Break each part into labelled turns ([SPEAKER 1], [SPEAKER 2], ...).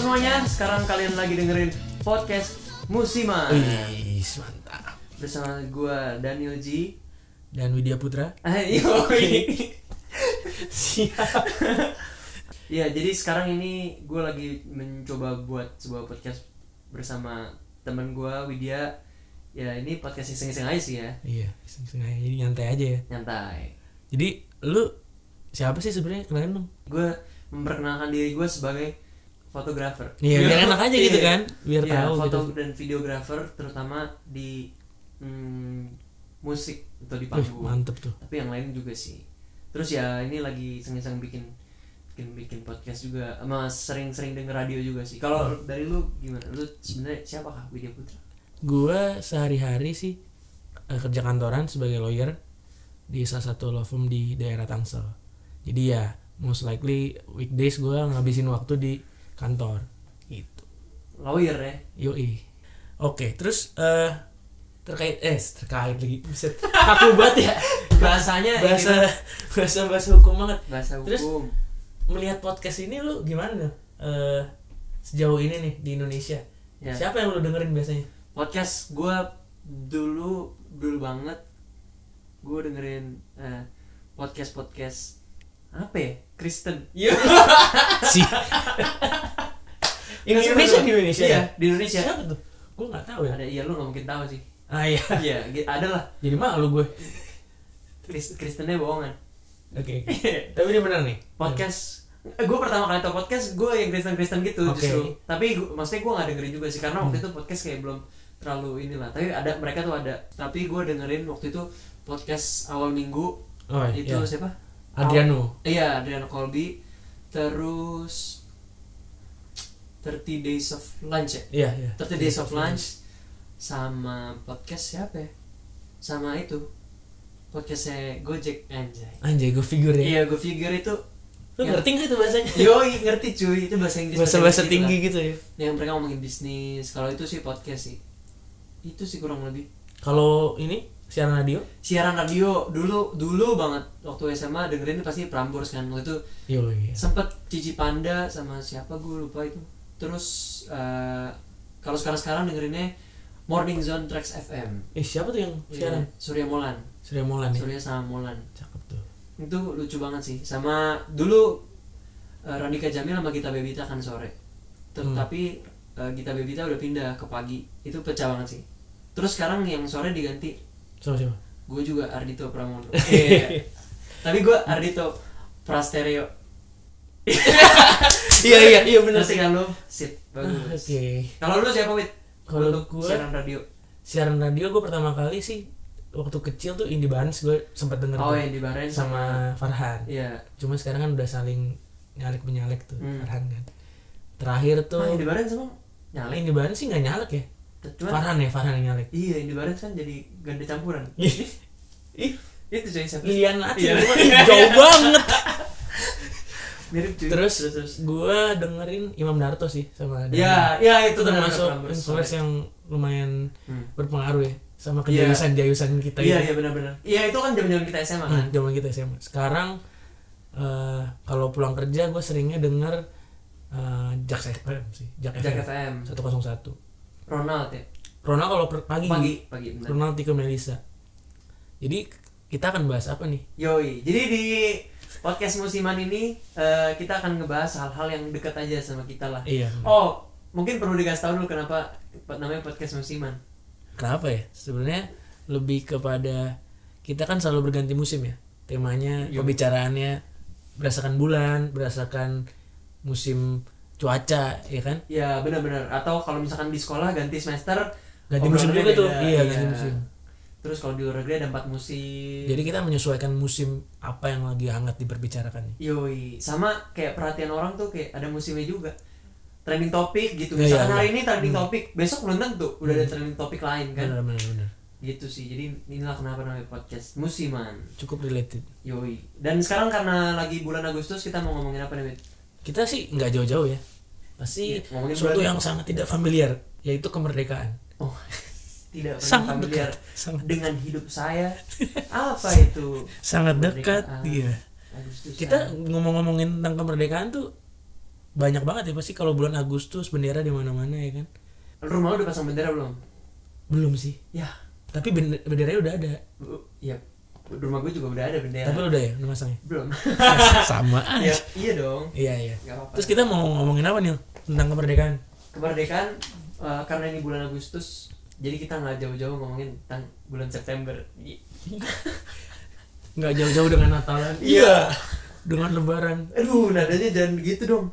[SPEAKER 1] semuanya, sekarang kalian lagi dengerin podcast
[SPEAKER 2] Oh,
[SPEAKER 1] Musiman
[SPEAKER 2] Wih, mantap.
[SPEAKER 1] bersama gua Daniel G.
[SPEAKER 2] Dan Widya Putra.
[SPEAKER 1] Ayo.
[SPEAKER 2] Siap.
[SPEAKER 1] ya, jadi sekarang ini gua lagi mencoba buat sebuah podcast bersama teman gua Widya. Ya, ini podcast iseng-iseng aja sih ya,
[SPEAKER 2] iya, iseng-iseng aja. Jadi nyantai aja ya.
[SPEAKER 1] nyantai.
[SPEAKER 2] Jadi lu siapa sih sebenarnya kenalin dong?
[SPEAKER 1] Gua memperkenalkan diri gua sebagai fotografer.
[SPEAKER 2] Iya, biar enak aja gitu
[SPEAKER 1] Iya.
[SPEAKER 2] kan. Biar
[SPEAKER 1] Iya,
[SPEAKER 2] tahu
[SPEAKER 1] foto
[SPEAKER 2] gitu.
[SPEAKER 1] dan videografer terutama di mm, musik atau di
[SPEAKER 2] Wih,
[SPEAKER 1] panggung.
[SPEAKER 2] mantep tuh.
[SPEAKER 1] tapi yang lain juga sih terus ya ini lagi sengisang bikin bikin bikin podcast juga sama sering-sering denger radio juga sih kalau dari lu gimana lu sebenarnya siapa kah Widya Putra
[SPEAKER 2] Gua sehari-hari sih eh, kerja kantoran sebagai lawyer di salah satu law firm di daerah Tangsel. Jadi ya most likely weekdays gua ngabisin waktu di kantor gitu.
[SPEAKER 1] lawyer ya
[SPEAKER 2] Yoi. Oke, terus eh terkait eh terkait lagi buset kaku banget ya
[SPEAKER 1] bahasanya ini
[SPEAKER 2] bahasa
[SPEAKER 1] tuh,
[SPEAKER 2] bahasa bahasa hukum banget
[SPEAKER 1] bahasa
[SPEAKER 2] Terus-
[SPEAKER 1] hukum
[SPEAKER 2] melihat podcast ini lu gimana Nel? Eh, sejauh ini nih di Indonesia
[SPEAKER 1] Ya.
[SPEAKER 2] siapa yang lu dengerin biasanya
[SPEAKER 1] podcast gua dulu dulu banget gua dengerin podcast podcast apa ya Kristen
[SPEAKER 2] Iya. si Indonesia di Indonesia
[SPEAKER 1] iya,
[SPEAKER 2] ya?
[SPEAKER 1] di Indonesia
[SPEAKER 2] siapa tuh gue nggak tahu ya
[SPEAKER 1] ada iya lu nggak mungkin tahu sih
[SPEAKER 2] ah iya
[SPEAKER 1] iya gi- ada lah
[SPEAKER 2] jadi malu gue
[SPEAKER 1] Kris- Kristennya bohongan
[SPEAKER 2] oke tapi dia benar nih
[SPEAKER 1] podcast gue pertama kali tau podcast gue yang Kristen Kristen gitu
[SPEAKER 2] Oke. Hmm.
[SPEAKER 1] justru tapi gua- maksudnya gue gak dengerin juga sih karena waktu itu podcast kayak belum terlalu inilah tapi ada mereka tuh ada tapi gue dengerin waktu itu podcast awal minggu
[SPEAKER 2] oh
[SPEAKER 1] itu
[SPEAKER 2] itu iya.
[SPEAKER 1] siapa
[SPEAKER 2] Adriano
[SPEAKER 1] iya Adriano Colby terus 30 Days of Lunch ya
[SPEAKER 2] iya iya
[SPEAKER 1] 30 Days of Lunch sama podcast siapa ya sama itu podcastnya Gojek anjay
[SPEAKER 2] anjay gue figur ya
[SPEAKER 1] iya gue figure itu
[SPEAKER 2] lu
[SPEAKER 1] Iya.
[SPEAKER 2] ngerti nggak itu bahasanya
[SPEAKER 1] Yo, ngerti cuy, itu bahasa Inggris.
[SPEAKER 2] bahasa bahasa
[SPEAKER 1] gitu
[SPEAKER 2] tinggi gitu ya
[SPEAKER 1] lah. Yang mereka ngomongin bisnis, kalau itu sih podcast sih. Itu sih kurang lebih.
[SPEAKER 2] kalau ini siaran radio
[SPEAKER 1] Siaran radio dulu dulu banget waktu SMA dengerin pasti Prambors kan. Waktu itu
[SPEAKER 2] Yo, iya
[SPEAKER 1] sempet Cici Panda sama siapa gue lupa itu. Terus eh, kalau sekarang-sekarang dengerinnya Morning Zone Tracks FM.
[SPEAKER 2] eh siapa tuh yang siaran
[SPEAKER 1] Iya, Surya Molan.
[SPEAKER 2] Surya Molan ya
[SPEAKER 1] Surya sama Molan.
[SPEAKER 2] cakep tuh
[SPEAKER 1] Itu lucu banget sih. Sama dulu eh, Radika Jamil sama Gita Bebita kan sore. Ter-
[SPEAKER 2] Hmm.
[SPEAKER 1] Tapi eh, Gita Bebita udah pindah ke pagi. Itu pecah banget sih. Terus sekarang yang sore diganti
[SPEAKER 2] sama siapa
[SPEAKER 1] gue juga Ardito Pramono. Iya. tapi gue Ardito Prastereo.
[SPEAKER 2] iya iya iya benar
[SPEAKER 1] Ngerti
[SPEAKER 2] sih
[SPEAKER 1] kan lo? Sip,
[SPEAKER 2] Ah, oke
[SPEAKER 1] bagus. Kalau lu siapa Wit?
[SPEAKER 2] Kalau
[SPEAKER 1] Untuk
[SPEAKER 2] gua-
[SPEAKER 1] siaran radio.
[SPEAKER 2] siaran radio gue pertama kali sih waktu kecil tuh Indie Barnes gue sempet denger
[SPEAKER 1] Oh
[SPEAKER 2] tuh,
[SPEAKER 1] yang di Bahrain sama
[SPEAKER 2] sama Farhan
[SPEAKER 1] Iya.
[SPEAKER 2] cuma sekarang kan udah saling nyalek menyalek tuh
[SPEAKER 1] Hmm.
[SPEAKER 2] Farhan kan terakhir tuh
[SPEAKER 1] Oh, yang di Bahrain sama nyalek.
[SPEAKER 2] Indie Barnes sih nggak nyalek ya
[SPEAKER 1] Cuman
[SPEAKER 2] Farhan ya Farhan yang nyalek
[SPEAKER 1] iya yang di Bahrain kan jadi ganda campuran.
[SPEAKER 2] Iya.
[SPEAKER 1] Ih, itu jadi siapa?
[SPEAKER 2] Lilian Acil
[SPEAKER 1] Iya.
[SPEAKER 2] cuma, ih, jauh banget
[SPEAKER 1] Mirip cuy.
[SPEAKER 2] terus,
[SPEAKER 1] terus. terus.
[SPEAKER 2] gue dengerin Imam Darto sih sama
[SPEAKER 1] Ya, ya itu
[SPEAKER 2] itu termasuk influence
[SPEAKER 1] Iya,
[SPEAKER 2] yang lumayan
[SPEAKER 1] Hmm.
[SPEAKER 2] berpengaruh ya sama
[SPEAKER 1] Iya.
[SPEAKER 2] kejayusan jayusan kita
[SPEAKER 1] iya
[SPEAKER 2] gitu.
[SPEAKER 1] iya, benar-benar. Iya itu kan zaman-zaman kita SMA kan.
[SPEAKER 2] Nah, zaman kita SMA. Sekarang eh, kalau pulang kerja gue seringnya denger eh Jak FM sih, Jak
[SPEAKER 1] Jack
[SPEAKER 2] FM
[SPEAKER 1] FM.
[SPEAKER 2] 101.
[SPEAKER 1] Ronald ya.
[SPEAKER 2] Ronald kalau per- pagi,
[SPEAKER 1] Pagi, pagi benar.
[SPEAKER 2] Ronald Tiko Melisa. Jadi kita akan bahas apa nih?
[SPEAKER 1] Yoi. Jadi di podcast musiman ini eh, kita akan ngebahas hal-hal yang dekat aja sama kita lah.
[SPEAKER 2] Iya.
[SPEAKER 1] Oh, mungkin perlu dikasih tahu dulu kenapa namanya podcast musiman.
[SPEAKER 2] Kenapa ya? Sebenarnya lebih kepada kita kan selalu berganti musim ya. Temanya,
[SPEAKER 1] Iya.
[SPEAKER 2] pembicaraannya berdasarkan bulan, berdasarkan musim cuaca, ya kan?
[SPEAKER 1] Ya benar-benar. Atau kalau misalkan di sekolah ganti semester
[SPEAKER 2] Ganti musim
[SPEAKER 1] obrolannya
[SPEAKER 2] juga tuh.
[SPEAKER 1] beda.
[SPEAKER 2] Iya, ganti musim.
[SPEAKER 1] Terus kalau di luar negeri ada empat musim.
[SPEAKER 2] Jadi kita menyesuaikan musim apa yang lagi hangat diperbicarakan.
[SPEAKER 1] Yoi, sama kayak perhatian orang tuh kayak ada musimnya juga. Trending topik gitu.
[SPEAKER 2] Iya,
[SPEAKER 1] Misalkan
[SPEAKER 2] iya, Hmm.
[SPEAKER 1] hari ini trending topik, besok belum tentu udah ada trending topik lain kan.
[SPEAKER 2] Benar benar benar.
[SPEAKER 1] Gitu sih. Jadi inilah kenapa namanya podcast musiman.
[SPEAKER 2] Cukup related.
[SPEAKER 1] Yoi. Dan sekarang karena lagi bulan Agustus kita mau ngomongin apa nih, Mit?
[SPEAKER 2] Kita sih nggak jauh-jauh ya. Pasti
[SPEAKER 1] Iya, ngomongin
[SPEAKER 2] suatu
[SPEAKER 1] berarti.
[SPEAKER 2] yang sangat tidak familiar yaitu kemerdekaan.
[SPEAKER 1] Oh, tidak pernah
[SPEAKER 2] Sangat
[SPEAKER 1] familiar
[SPEAKER 2] dekat. Sangat
[SPEAKER 1] dengan hidup saya. apa itu?
[SPEAKER 2] sangat dekat
[SPEAKER 1] Kemerdekaan.
[SPEAKER 2] iya.
[SPEAKER 1] Agustus.
[SPEAKER 2] Kita ngomong-ngomongin tentang kemerdekaan tuh banyak banget ya pasti kalau bulan Agustus bendera di mana-mana ya kan
[SPEAKER 1] rumah lu udah pasang bendera belum
[SPEAKER 2] belum sih
[SPEAKER 1] ya
[SPEAKER 2] tapi bendera benderanya udah ada
[SPEAKER 1] bu- ya rumah gue juga udah ada bendera
[SPEAKER 2] tapi lu udah ya udah masang ya
[SPEAKER 1] belum
[SPEAKER 2] sama
[SPEAKER 1] ya, iya dong
[SPEAKER 2] iya iya
[SPEAKER 1] nggak apa-apa
[SPEAKER 2] terus kita mau ngomongin apa nih tentang kemerdekaan
[SPEAKER 1] kemerdekaan eh, karena ini bulan Agustus jadi kita nggak jauh-jauh ngomongin tentang bulan September Iya. I-
[SPEAKER 2] nggak jauh-jauh dengan Natalan
[SPEAKER 1] iya
[SPEAKER 2] dengan Lebaran
[SPEAKER 1] aduh nadanya jangan gitu dong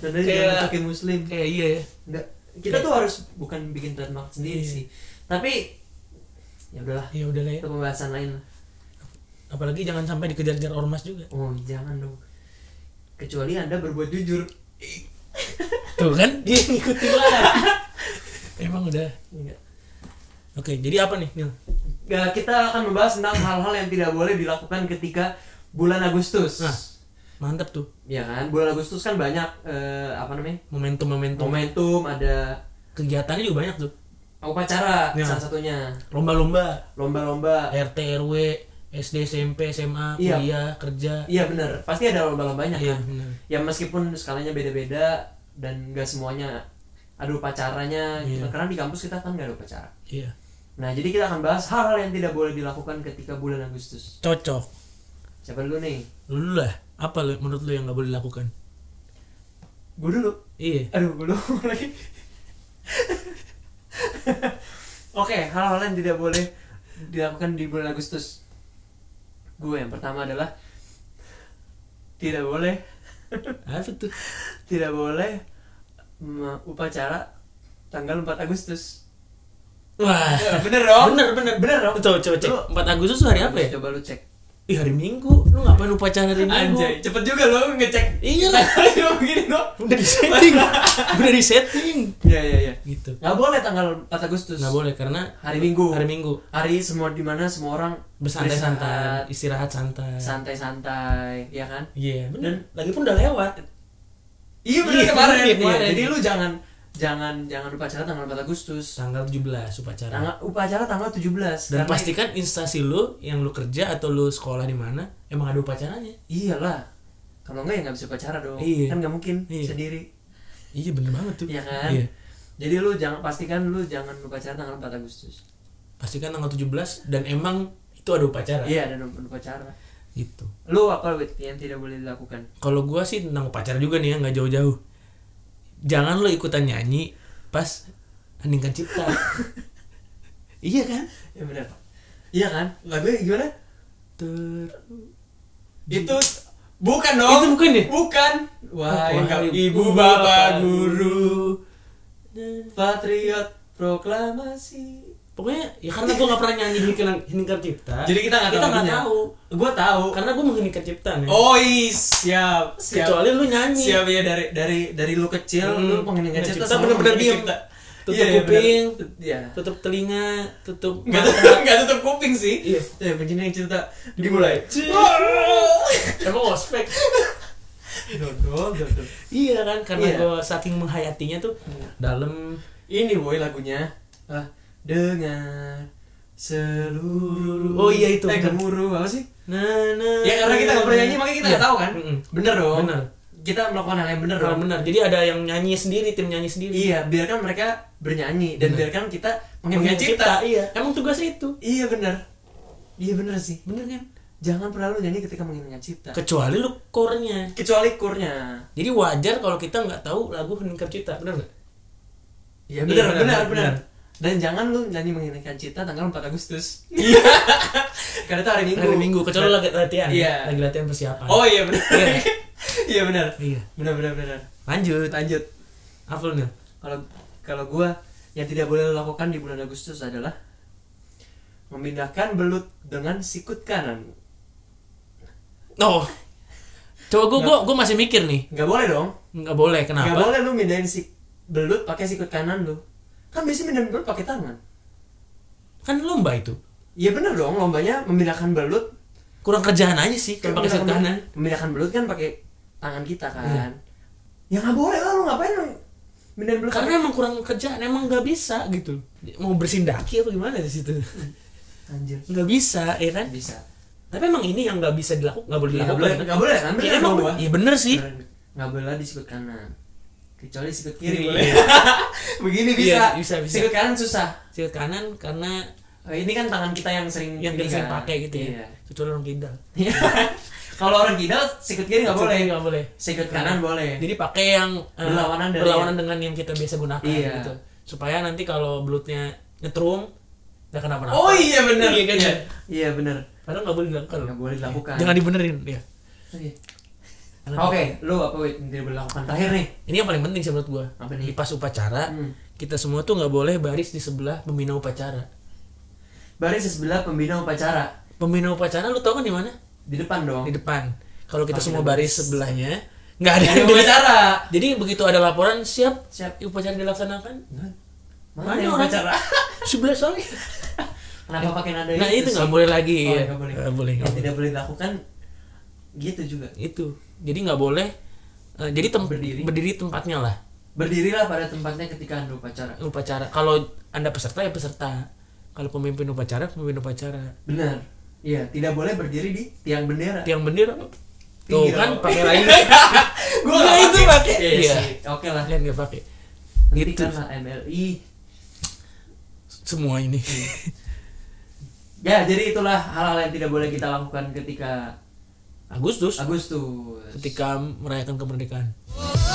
[SPEAKER 1] nadanya
[SPEAKER 2] Kayak-
[SPEAKER 1] jangan pakai muslim
[SPEAKER 2] kayak iya ya
[SPEAKER 1] Nggak, kita tuh harus bukan bikin trademark sendiri
[SPEAKER 2] Iya.
[SPEAKER 1] sih tapi ya udahlah
[SPEAKER 2] ya udah lah ya
[SPEAKER 1] itu pembahasan lain lah
[SPEAKER 2] apalagi jangan sampai dikejar-kejar ormas juga
[SPEAKER 1] oh jangan dong kecuali anda berbuat jujur
[SPEAKER 2] tuh kan dia ngikutin lah emang udah
[SPEAKER 1] Nggak.
[SPEAKER 2] oke jadi apa nih Nil
[SPEAKER 1] Ya, kita akan membahas tentang hal-hal yang tidak boleh dilakukan ketika bulan Agustus.
[SPEAKER 2] Nah. mantap tuh
[SPEAKER 1] Ya kan, bulan Agustus kan banyak eh, apa namanya?
[SPEAKER 2] momentum momentum
[SPEAKER 1] momentum, ada
[SPEAKER 2] kegiatannya juga banyak tuh
[SPEAKER 1] upacara
[SPEAKER 2] Ya.
[SPEAKER 1] salah satunya,
[SPEAKER 2] lomba-lomba
[SPEAKER 1] lomba-lomba.
[SPEAKER 2] RT RW SD SMP SMA
[SPEAKER 1] Iya.
[SPEAKER 2] kuliah kerja
[SPEAKER 1] Iya benar, pasti ada lomba-lombanya
[SPEAKER 2] iya
[SPEAKER 1] kan.
[SPEAKER 2] benar
[SPEAKER 1] Ya meskipun skalanya beda-beda dan gak semuanya ada upacaranya gitu.
[SPEAKER 2] Iya.
[SPEAKER 1] Karena di kampus kita kan gak ada upacara.
[SPEAKER 2] iya
[SPEAKER 1] Nah, jadi kita akan bahas hal-hal yang tidak boleh dilakukan ketika bulan Agustus.
[SPEAKER 2] cocok
[SPEAKER 1] Siapa dulu nih?
[SPEAKER 2] lu lah apa lu, menurut lu yang nggak boleh dilakukan
[SPEAKER 1] Gue dulu.
[SPEAKER 2] iya
[SPEAKER 1] Aduh, gue lupa lagi. Oke, hal-hal yang tidak boleh dilakukan di bulan Agustus. Gue yang pertama adalah tidak boleh,
[SPEAKER 2] apa tuh
[SPEAKER 1] tidak boleh me- upacara tanggal 4 Agustus.
[SPEAKER 2] wah
[SPEAKER 1] Ya, Bener dong?
[SPEAKER 2] bener bener
[SPEAKER 1] Bener dong?
[SPEAKER 2] coba coba cek
[SPEAKER 1] Lu-
[SPEAKER 2] 4 Agustus tuh hari apa ya
[SPEAKER 1] Coba lu cek.
[SPEAKER 2] Ih hari Minggu lu ngapain upacara hari Minggu
[SPEAKER 1] Anjay, cepet juga lo ngecek.
[SPEAKER 2] Iya lah.
[SPEAKER 1] Cuma begini dong.
[SPEAKER 2] udah di setting udah di setting
[SPEAKER 1] Iya, iya, iya.
[SPEAKER 2] gitu
[SPEAKER 1] Nggak boleh tanggal 4 Agustus.
[SPEAKER 2] nggak boleh karena
[SPEAKER 1] Hari Minggu.
[SPEAKER 2] hari Minggu
[SPEAKER 1] Hari semua dimana semua orang
[SPEAKER 2] bersantai-santai Iya.
[SPEAKER 1] berehat,
[SPEAKER 2] istirahat santai
[SPEAKER 1] santai-santai ya kan
[SPEAKER 2] iya bener
[SPEAKER 1] Dan-
[SPEAKER 2] lagipun udah lewat
[SPEAKER 1] iya benar
[SPEAKER 2] Iya,
[SPEAKER 1] kemarin,
[SPEAKER 2] iya,
[SPEAKER 1] kemarin.
[SPEAKER 2] iya.
[SPEAKER 1] jadi lu jangan jangan jangan upacara tanggal 4 Agustus
[SPEAKER 2] tanggal 17 upacara
[SPEAKER 1] tanggal upacara tanggal 17
[SPEAKER 2] dan
[SPEAKER 1] Karena-
[SPEAKER 2] pastikan instansi lu yang lu kerja atau lu sekolah di mana emang ada upacaranya
[SPEAKER 1] iyalah kalau enggak ya nggak bisa upacara dong
[SPEAKER 2] Iya.
[SPEAKER 1] kan nggak mungkin
[SPEAKER 2] Iya.
[SPEAKER 1] sendiri
[SPEAKER 2] iya bener banget tuh
[SPEAKER 1] Iya kan?
[SPEAKER 2] iya.
[SPEAKER 1] jadi lu jangan pastikan lu jangan upacara tanggal 4 Agustus
[SPEAKER 2] pastikan tanggal 17 dan emang itu ada upacara
[SPEAKER 1] iya ada dong upacara
[SPEAKER 2] gitu
[SPEAKER 1] lu apa Wit, yang tidak boleh dilakukan
[SPEAKER 2] kalau gua sih tentang upacara juga nih ya nggak jauh-jauh jangan lo ikutan nyanyi pas heningan cipta iya kan
[SPEAKER 1] ya benar iya kan lagunya gimana
[SPEAKER 2] Ter-
[SPEAKER 1] itu bukan dong
[SPEAKER 2] itu bukan ya
[SPEAKER 1] bukan
[SPEAKER 2] Wahai
[SPEAKER 1] ibu bapak guru Patriot proklamasi.
[SPEAKER 2] pokoknya ya karena gua nggak pernah nyanyi heningan heningan cipta
[SPEAKER 1] Jadi kita nggak tahu
[SPEAKER 2] kita nggak
[SPEAKER 1] lagunya.
[SPEAKER 2] tahu
[SPEAKER 1] Gue tahu.
[SPEAKER 2] karena gua mengheningkan cipta nih
[SPEAKER 1] Oi, siap, siap.
[SPEAKER 2] kecuali lu nyanyi
[SPEAKER 1] siap ya dari dari dari lu kecil
[SPEAKER 2] Hmm.
[SPEAKER 1] lu pengen ngecat
[SPEAKER 2] Cipta bener-bener diem. Tutup kuping.
[SPEAKER 1] Iya.
[SPEAKER 2] tutup telinga tutup
[SPEAKER 1] Enggak
[SPEAKER 2] mata.
[SPEAKER 1] tutup, Iya, nggak tutup kuping sih.
[SPEAKER 2] Iya.
[SPEAKER 1] Ya, begini yang cerita dimulai.
[SPEAKER 2] emang ospek
[SPEAKER 1] Dodol, dodol.
[SPEAKER 2] iya kan karena
[SPEAKER 1] Iya.
[SPEAKER 2] gua saking menghayatinya tuh dalam
[SPEAKER 1] Ini boy lagunya. Ah, dengan seluruh
[SPEAKER 2] Oh, iya, itu.
[SPEAKER 1] eh gemuruh apa sih
[SPEAKER 2] nah, nah,
[SPEAKER 1] ya karena kita nggak pernah nyanyi makanya kita nggak tahu kan
[SPEAKER 2] Iya. Mm-mm.
[SPEAKER 1] bener dong
[SPEAKER 2] Bener.
[SPEAKER 1] kita melakukan hal yang bener
[SPEAKER 2] Benar,
[SPEAKER 1] dong
[SPEAKER 2] benar. Jadi ada yang nyanyi sendiri, tim nyanyi sendiri.
[SPEAKER 1] iya biarkan mereka bernyanyi dan
[SPEAKER 2] Bener.
[SPEAKER 1] biarkan kita
[SPEAKER 2] Pengen
[SPEAKER 1] mengheningkan cipta
[SPEAKER 2] Iya. Emang tugasnya itu.
[SPEAKER 1] iya bener iya bener sih
[SPEAKER 2] Bener kan?
[SPEAKER 1] jangan pernah lu nyanyi ketika mengheningkan cipta
[SPEAKER 2] Kecuali lu core-nya.
[SPEAKER 1] kecuali kurnya
[SPEAKER 2] Jadi wajar kalau kita nggak tahu lagu Hening Cipta, benar nggak?
[SPEAKER 1] iya bener
[SPEAKER 2] bener,
[SPEAKER 1] bener bener,
[SPEAKER 2] bener.
[SPEAKER 1] dan jangan lu nyanyi mengheningkan cipta tanggal 4 Agustus karena itu Iya. hari minggu
[SPEAKER 2] Hari Minggu, kecuali
[SPEAKER 1] Dan-
[SPEAKER 2] lagi latihan.
[SPEAKER 1] Iya.
[SPEAKER 2] Lagi latihan persiapan.
[SPEAKER 1] oh iya bener
[SPEAKER 2] Iya.
[SPEAKER 1] iya bener
[SPEAKER 2] Iya.
[SPEAKER 1] bener bener bener
[SPEAKER 2] Lanjut.
[SPEAKER 1] lanjut
[SPEAKER 2] Apa lu, Nil?
[SPEAKER 1] kalau kalau gua yang tidak boleh lakukan di bulan Agustus adalah memindahkan belut dengan sikut kanan
[SPEAKER 2] Oh. Coba gua, gua, gua masih mikir nih.
[SPEAKER 1] nggak boleh dong
[SPEAKER 2] Nggak boleh,
[SPEAKER 1] nggak
[SPEAKER 2] kenapa?
[SPEAKER 1] boleh lu mindahin si belut pakai sikut kanan lu kan biasanya mindahin belut pakai tangan
[SPEAKER 2] Kan lomba itu.
[SPEAKER 1] Iya bener dong lombanya memindahkan belut
[SPEAKER 2] Kurang kerjaan aja sih kalau Kan pakai set
[SPEAKER 1] Memindahkan-
[SPEAKER 2] kanan. Iya.
[SPEAKER 1] memindahkan belut kan pakai tangan kita kan ya nggak boleh lah lu ngapain lu mindahin belut
[SPEAKER 2] Karena emang kurang kerjaan, emang nggak bisa gitu. Mau bersin daki apa gimana di situ?
[SPEAKER 1] pakai- anjir
[SPEAKER 2] Nggak bisa, ya kan?
[SPEAKER 1] bisa
[SPEAKER 2] Tapi emang ini yang nggak bisa dilakukan, nggak boleh
[SPEAKER 1] nggak
[SPEAKER 2] dilakukan.
[SPEAKER 1] boleh nggak boleh kan
[SPEAKER 2] Iya
[SPEAKER 1] bener
[SPEAKER 2] emang,
[SPEAKER 1] dong gua
[SPEAKER 2] iya bener sih.
[SPEAKER 1] Bener. nggak boleh di sikut kanan kecuali sikut kiri
[SPEAKER 2] Kiri.
[SPEAKER 1] boleh begini bisa
[SPEAKER 2] Iya, bisa, bisa.
[SPEAKER 1] sikut kanan susah
[SPEAKER 2] Sikut kanan karena
[SPEAKER 1] Oh, ini kan tangan kita yang sering
[SPEAKER 2] yang
[SPEAKER 1] ini
[SPEAKER 2] kita sering
[SPEAKER 1] kan.
[SPEAKER 2] pakai gitu ya.
[SPEAKER 1] Iya.
[SPEAKER 2] Kecuali orang kidal.
[SPEAKER 1] kalau orang kidal sikut kiri nggak boleh
[SPEAKER 2] nggak boleh.
[SPEAKER 1] sikut kanan boleh
[SPEAKER 2] Jadi pakai yang eh,
[SPEAKER 1] Berlawanan dari- ya?
[SPEAKER 2] berlawanan dengan yang kita biasa gunakan
[SPEAKER 1] Iya.
[SPEAKER 2] gitu. Supaya nanti kalau belutnya nyetrum nggak kenapa-napa.
[SPEAKER 1] oh iya benar
[SPEAKER 2] Iya, kan, ya?
[SPEAKER 1] iya benar
[SPEAKER 2] Padahal nggak boleh dilakukan.
[SPEAKER 1] Nggak boleh dilakukan.
[SPEAKER 2] Jangan dibenerin ya.
[SPEAKER 1] Oke, lu apa wait tidak berlakukan terakhir nih?
[SPEAKER 2] Ini yang paling penting sih menurut gua.
[SPEAKER 1] Apa nih?
[SPEAKER 2] Di pas upacara,
[SPEAKER 1] Hmm.
[SPEAKER 2] kita semua tuh nggak boleh baris di sebelah pembina upacara.
[SPEAKER 1] Baris di sebelah pembina upacara
[SPEAKER 2] Pembina upacara lu tau kan di mana?
[SPEAKER 1] di depan dong.
[SPEAKER 2] Di depan. Kalau kita
[SPEAKER 1] Makin
[SPEAKER 2] semua
[SPEAKER 1] Oh. baris.
[SPEAKER 2] baris sebelahnya, nggak ada
[SPEAKER 1] Nggak
[SPEAKER 2] yang
[SPEAKER 1] ada upacara.
[SPEAKER 2] Jadi begitu ada laporan siap
[SPEAKER 1] Siap.
[SPEAKER 2] upacara dilaksanakan
[SPEAKER 1] Mana, yang
[SPEAKER 2] orang?
[SPEAKER 1] upacara?
[SPEAKER 2] sebelah soalnya.
[SPEAKER 1] Kenapa pakai nada
[SPEAKER 2] Nah itu
[SPEAKER 1] sih?
[SPEAKER 2] nggak boleh lagi.
[SPEAKER 1] Oh,
[SPEAKER 2] iya.
[SPEAKER 1] nggak boleh.
[SPEAKER 2] Nggak boleh. nggak
[SPEAKER 1] Yang
[SPEAKER 2] boleh.
[SPEAKER 1] tidak boleh dilakukan gitu juga.
[SPEAKER 2] Itu. Jadi nggak boleh. eh, jadi tem-
[SPEAKER 1] Berdiri.
[SPEAKER 2] berdiri. tempatnya lah
[SPEAKER 1] Berdirilah pada tempatnya ketika anda upacara.
[SPEAKER 2] upacara. Kalau anda peserta ya peserta. Kalau pemimpin upacara pemimpin upacara.
[SPEAKER 1] Benar. Iya, tidak boleh berdiri di tiang bendera.
[SPEAKER 2] Tiang bendera. Tuh
[SPEAKER 1] Tinggi
[SPEAKER 2] kan
[SPEAKER 1] dong.
[SPEAKER 2] pakai lagi.
[SPEAKER 1] Gua
[SPEAKER 2] Nggak,
[SPEAKER 1] nggak
[SPEAKER 2] itu pakai.
[SPEAKER 1] Iya.
[SPEAKER 2] Iya.
[SPEAKER 1] sih. Oke lah.
[SPEAKER 2] Kalian nggak pakai.
[SPEAKER 1] Nanti
[SPEAKER 2] Gitu.
[SPEAKER 1] kan lah MLI.
[SPEAKER 2] Semua ini.
[SPEAKER 1] Iya. Ya, jadi itulah hal-hal yang tidak boleh kita lakukan ketika
[SPEAKER 2] Agustus.
[SPEAKER 1] Agustus.
[SPEAKER 2] Ketika merayakan kemerdekaan.
[SPEAKER 3] Oh,